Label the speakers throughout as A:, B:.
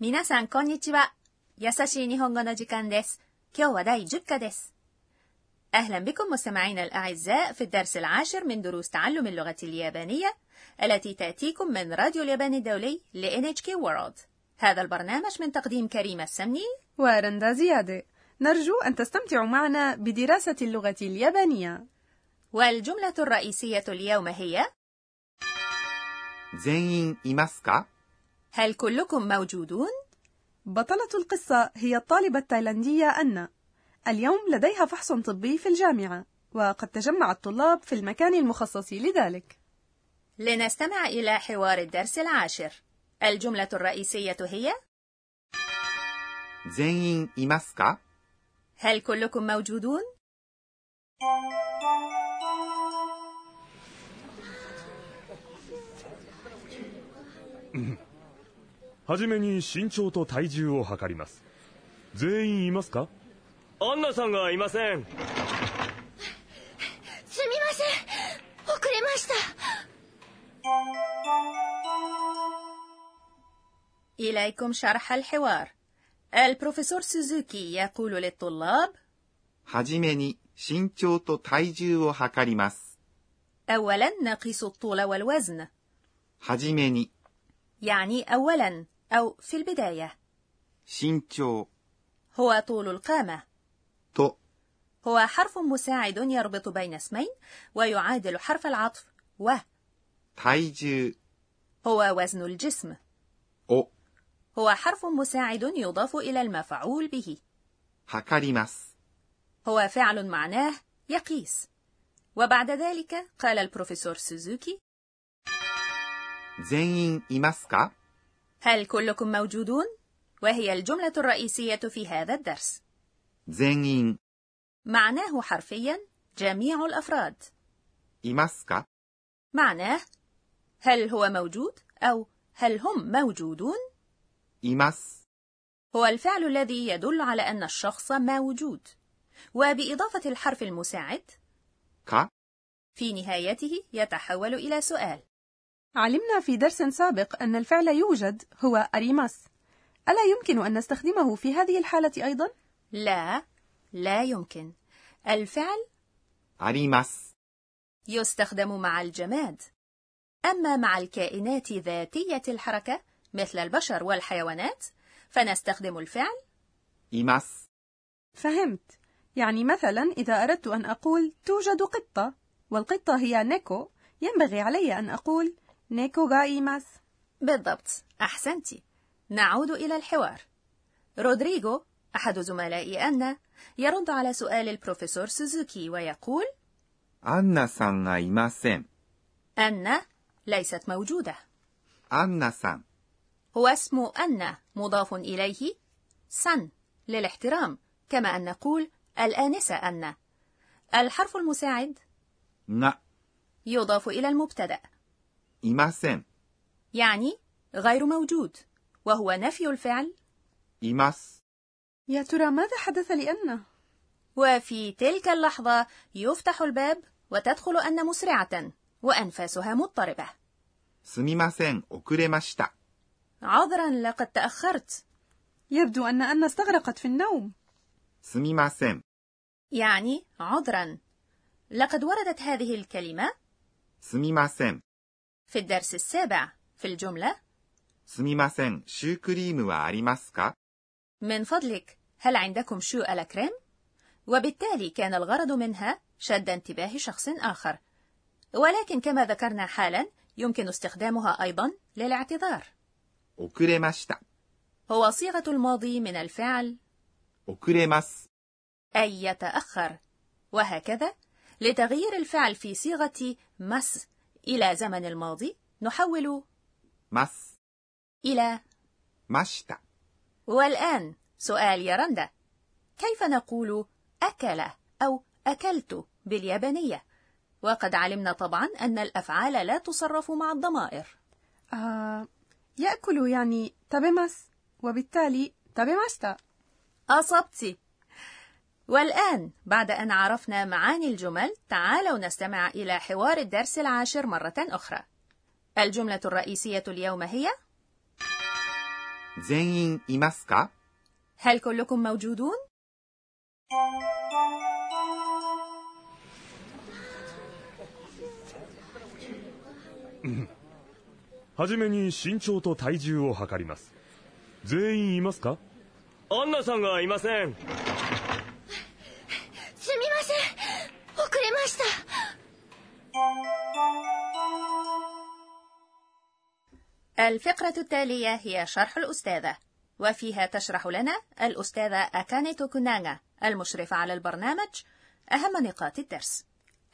A: 皆さん、こんにちは。優しい日本語の時間です。今日は第10課です。أهلا بكم مستمعينا الأعزاء في الدرس العاشر من دروس تعلم اللغة اليابانية التي تأتيكم من راديو اليابان الدولي ل NHK World. هذا البرنامج من تقديم كريمة السمني
B: ورندا زيادة. نرجو أن تستمتعوا معنا بدراسة اللغة اليابانية.
A: والجملة الرئيسية اليوم هي
C: 全員いますか
A: هل كلكم موجودون؟
B: بطلة القصة هي الطالبة التايلاندية أن اليوم لديها فحص طبي في الجامعة وقد تجمع الطلاب في المكان المخصص لذلك
A: لنستمع إلى حوار الدرس العاشر الجملة الرئيسية هي
C: 全員いますか
A: هل كلكم موجودون؟
D: はじめに身長と体重を測ります全員いますか
E: アンナさんがいません
F: すみません遅れました
A: إليكم شرح الحوار البروفيسور سوزوكي يقول للطلاب
C: はじめに身長と体重を測ります
A: أولا نقيس الطول والوزن
C: はじめに
A: يعني أولا أو في البداية
C: 身長
A: هو طول القامة
C: と
A: هو حرف مساعد يربط بين اسمين ويعادل حرف العطف و
C: 体重
A: هو وزن الجسم
C: を
A: هو حرف مساعد يضاف إلى المفعول به
C: 測ります
A: هو فعل معناه يقيس وبعد ذلك قال البروفيسور سوزوكي
C: 全員いますか
A: هل كلكم موجودون؟ وهي الجملة الرئيسية في هذا الدرس
C: 全員
A: معناه حرفيا جميع الأفراد
C: いますか
A: معناه هل هو موجود أو هل هم موجودون؟
C: います
A: هو الفعل الذي يدل على أن الشخص موجود وبإضافة الحرف المساعد
C: か
A: في نهايته يتحول إلى سؤال
B: علمنا في درس سابق أن الفعل يوجد هو أريماس ألا يمكن أن نستخدمه في هذه الحالة أيضا؟
A: لا لا يمكن الفعل
C: あります
A: يستخدم مع الجماد أما مع الكائنات ذاتية الحركة مثل البشر والحيوانات فنستخدم الفعل
C: います
B: فهمت يعني مثلا إذا أردت أن أقول توجد قطة والقطة هي نيكو ينبغي علي أن أقول نيكو غايماس
A: بالضبط أحسنت نعود إلى الحوار رودريغو أحد زملائي أن يرد على سؤال البروفيسور سوزوكي ويقول
C: アンナさんがいません
A: أن ليست موجودة
C: アンナさん
A: هو اسم أن مضاف إليه سن للاحترام كما أن نقول الآنسة أن الحرف المساعد
C: が
A: يضاف إلى المبتدأ
C: いません
A: يعني غير موجود وهو نفي الفعل
C: います
B: يا ترى ماذا حدث لأن؟
A: وفي تلك اللحظة يفتح الباب وتدخل أن مسرعة وأنفاسها مضطربة
C: すみません遅れました
A: عذرا لقد تأخرت
B: يبدو أن أن استغرقت في النوم
C: すみません
A: يعني عذرا لقد وردت هذه الكلمة
C: すみません
A: في الدرس السابع في الجملة
C: すみませんシュークリームはありますか
A: من فضلك هل عندكم شو ألا كريم؟ وبالتالي كان الغرض منها شد انتباه شخص آخر ولكن كما ذكرنا حالا يمكن استخدامها أيضا للاعتذار
C: 遅れました
A: هو صيغة الماضي من الفعل
C: 遅れます
A: أي يتأخر وهكذا لتغيير الفعل في صيغة مس إلى زمن الماضي نحول
C: ます
A: إلى
C: ました
A: والآن سؤال يا رندا كيف نقول أكل أو أكلت باليابانية؟ وقد علمنا طبعا أن الأفعال لا تصرف مع الضمائر
B: آه يأكل يعني تابيماس وبالتالي تابيماشتا
A: أصبت والآن بعد أن عرفنا معاني الجمل تعالوا نستمع إلى حوار الدرس العاشر مرة أخرى الجملة الرئيسية اليوم هي
C: 全員いますか
A: هل كلكم موجودون؟
D: はじめに身長と体重を測ります。全員いますか
E: アンナさんがいません
F: すみません遅れました
A: الفقرة التالية هي شرح الأستاذة وفيها تشرح لنا الأستاذة أكاني توكوناغا المشرفة على البرنامج أهم نقاط الدرس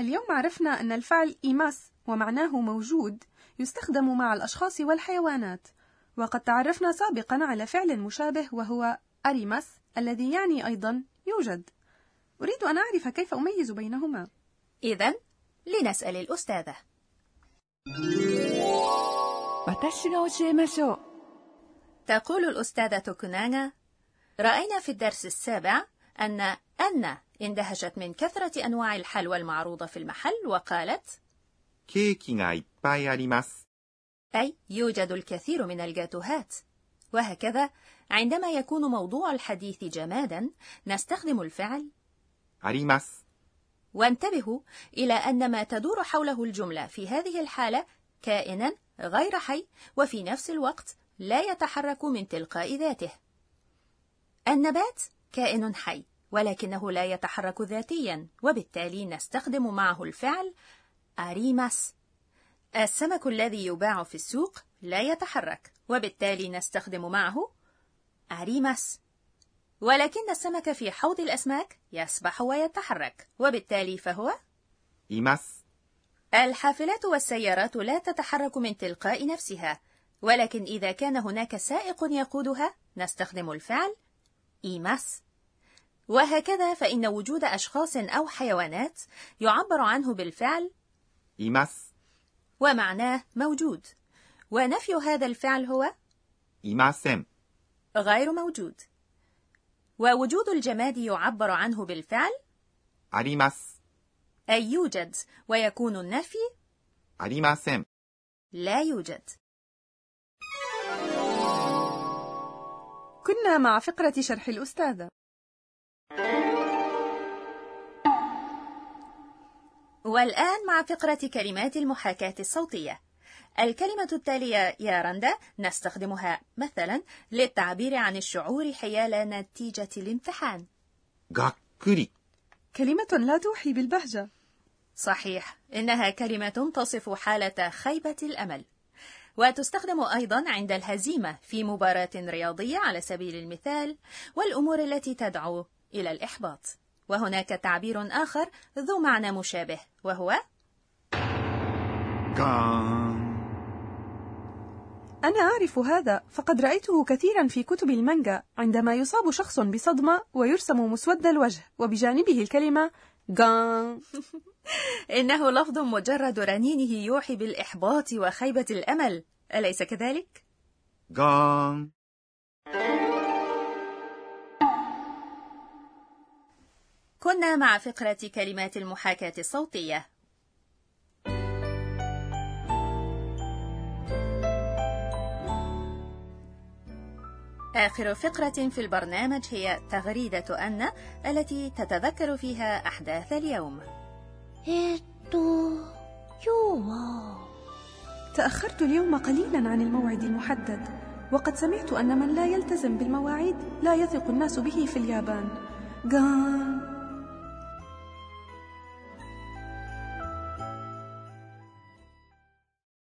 B: اليوم عرفنا أن الفعل إيماس ومعناه موجود يستخدم مع الأشخاص والحيوانات وقد تعرفنا سابقا على فعل مشابه وهو أريماس الذي يعني أيضا يوجد أريد أن أعرف كيف أميز بينهما
A: إذا لنسأل الأستاذة
G: 私が教えましょう
A: تقول الأستاذة توكوناغا رأينا في الدرس السابع أن أن اندهشت من كثرة أنواع الحلوى المعروضة في المحل وقالت
C: ケーキがいっぱいあります。
A: أي يوجد الكثير من الجاتوهات وهكذا عندما يكون موضوع الحديث جمادا نستخدم الفعل
C: あります。
A: وانتبهوا إلى أن ما تدور حوله الجملة في هذه الحالة كائنا غير حي وفي نفس الوقت لا يتحرك من تلقاء ذاته. النبات كائن حي ولكنه لا يتحرك ذاتيا وبالتالي نستخدم معه الفعل أريماس. السمك الذي يباع في السوق لا يتحرك وبالتالي نستخدم معه أريماس. ولكن السمك في حوض الأسماك يسبح ويتحرك وبالتالي فهو
C: います。
A: الحافلات والسيارات لا تتحرك من تلقاء نفسها ولكن إذا كان هناك سائق يقودها نستخدم الفعل إيماس وهكذا فإن وجود أشخاص أو حيوانات يعبر عنه بالفعل
C: います。
A: ومعناه موجود ونفي هذا الفعل هو
C: いません。
A: غير موجود ووجود الجماد يعبر عنه بالفعل
C: あります。
A: أي يوجد ويكون النفي
C: ありません。
A: لا يوجد
B: كنا مع فقرة شرح الأستاذة
A: والآن مع فقرة كلمات المحاكاة الصوتية. الكلمة التالية يا رندا نستخدمها مثلا للتعبير عن الشعور حيال نتيجة الامتحان.
C: がっくり。
B: كلمة لا توحي بالبهجة
A: صحيح، إنها كلمة تصف حالة خيبة الأمل. وتستخدم أيضا عند الهزيمة في مباراة رياضية على سبيل المثال والأمور التي تدعو إلى الإحباط. وهناك تعبير آخر ذو معنى مشابه وهو
C: ガーン。
B: أنا أعرف هذا فقد رأيته كثيرا في كتب المانجا عندما يصاب شخص بصدمة ويرسم مسود الوجه وبجانبه الكلمة غان
A: إنه لفظ مجرد رنينه يوحي بالإحباط وخيبة الأمل، أليس كذلك؟
C: ガーン。
A: كنا مع فقرة كلمات المحاكاة الصوتية. آخر فقرة في البرنامج هي تغريدة أن التي تتذكر فيها أحداث اليوم.
F: えーっと今日は
B: تأخرت اليوم قليلا عن الموعد المحدد وقد سمعت أن من لا يلتزم بالمواعيد لا يثق الناس به في اليابان غان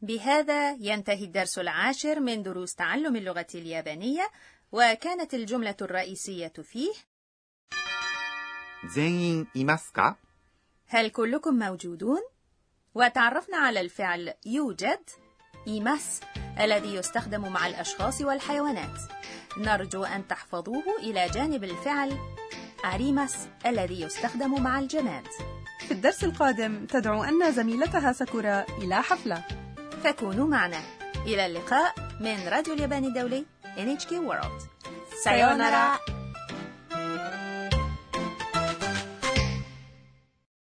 A: بهذا ينتهي الدرس العاشر من دروس تعلم اللغة اليابانية، وكانت الجملة الرئيسية فيه
C: 全員いますか
A: هل كلكم موجودون؟ وتعرفنا على الفعل يوجد إيماس الذي يستخدم مع الأشخاص والحيوانات نرجو أن تحفظوه إلى جانب الفعل أريماس الذي يستخدم مع الجماد
B: في الدرس القادم تدعو أن زميلتها ساكورا إلى حفلة
A: فكونوا معنا إلى اللقاء من راديو اليابان الدولي NHK World
B: さようなら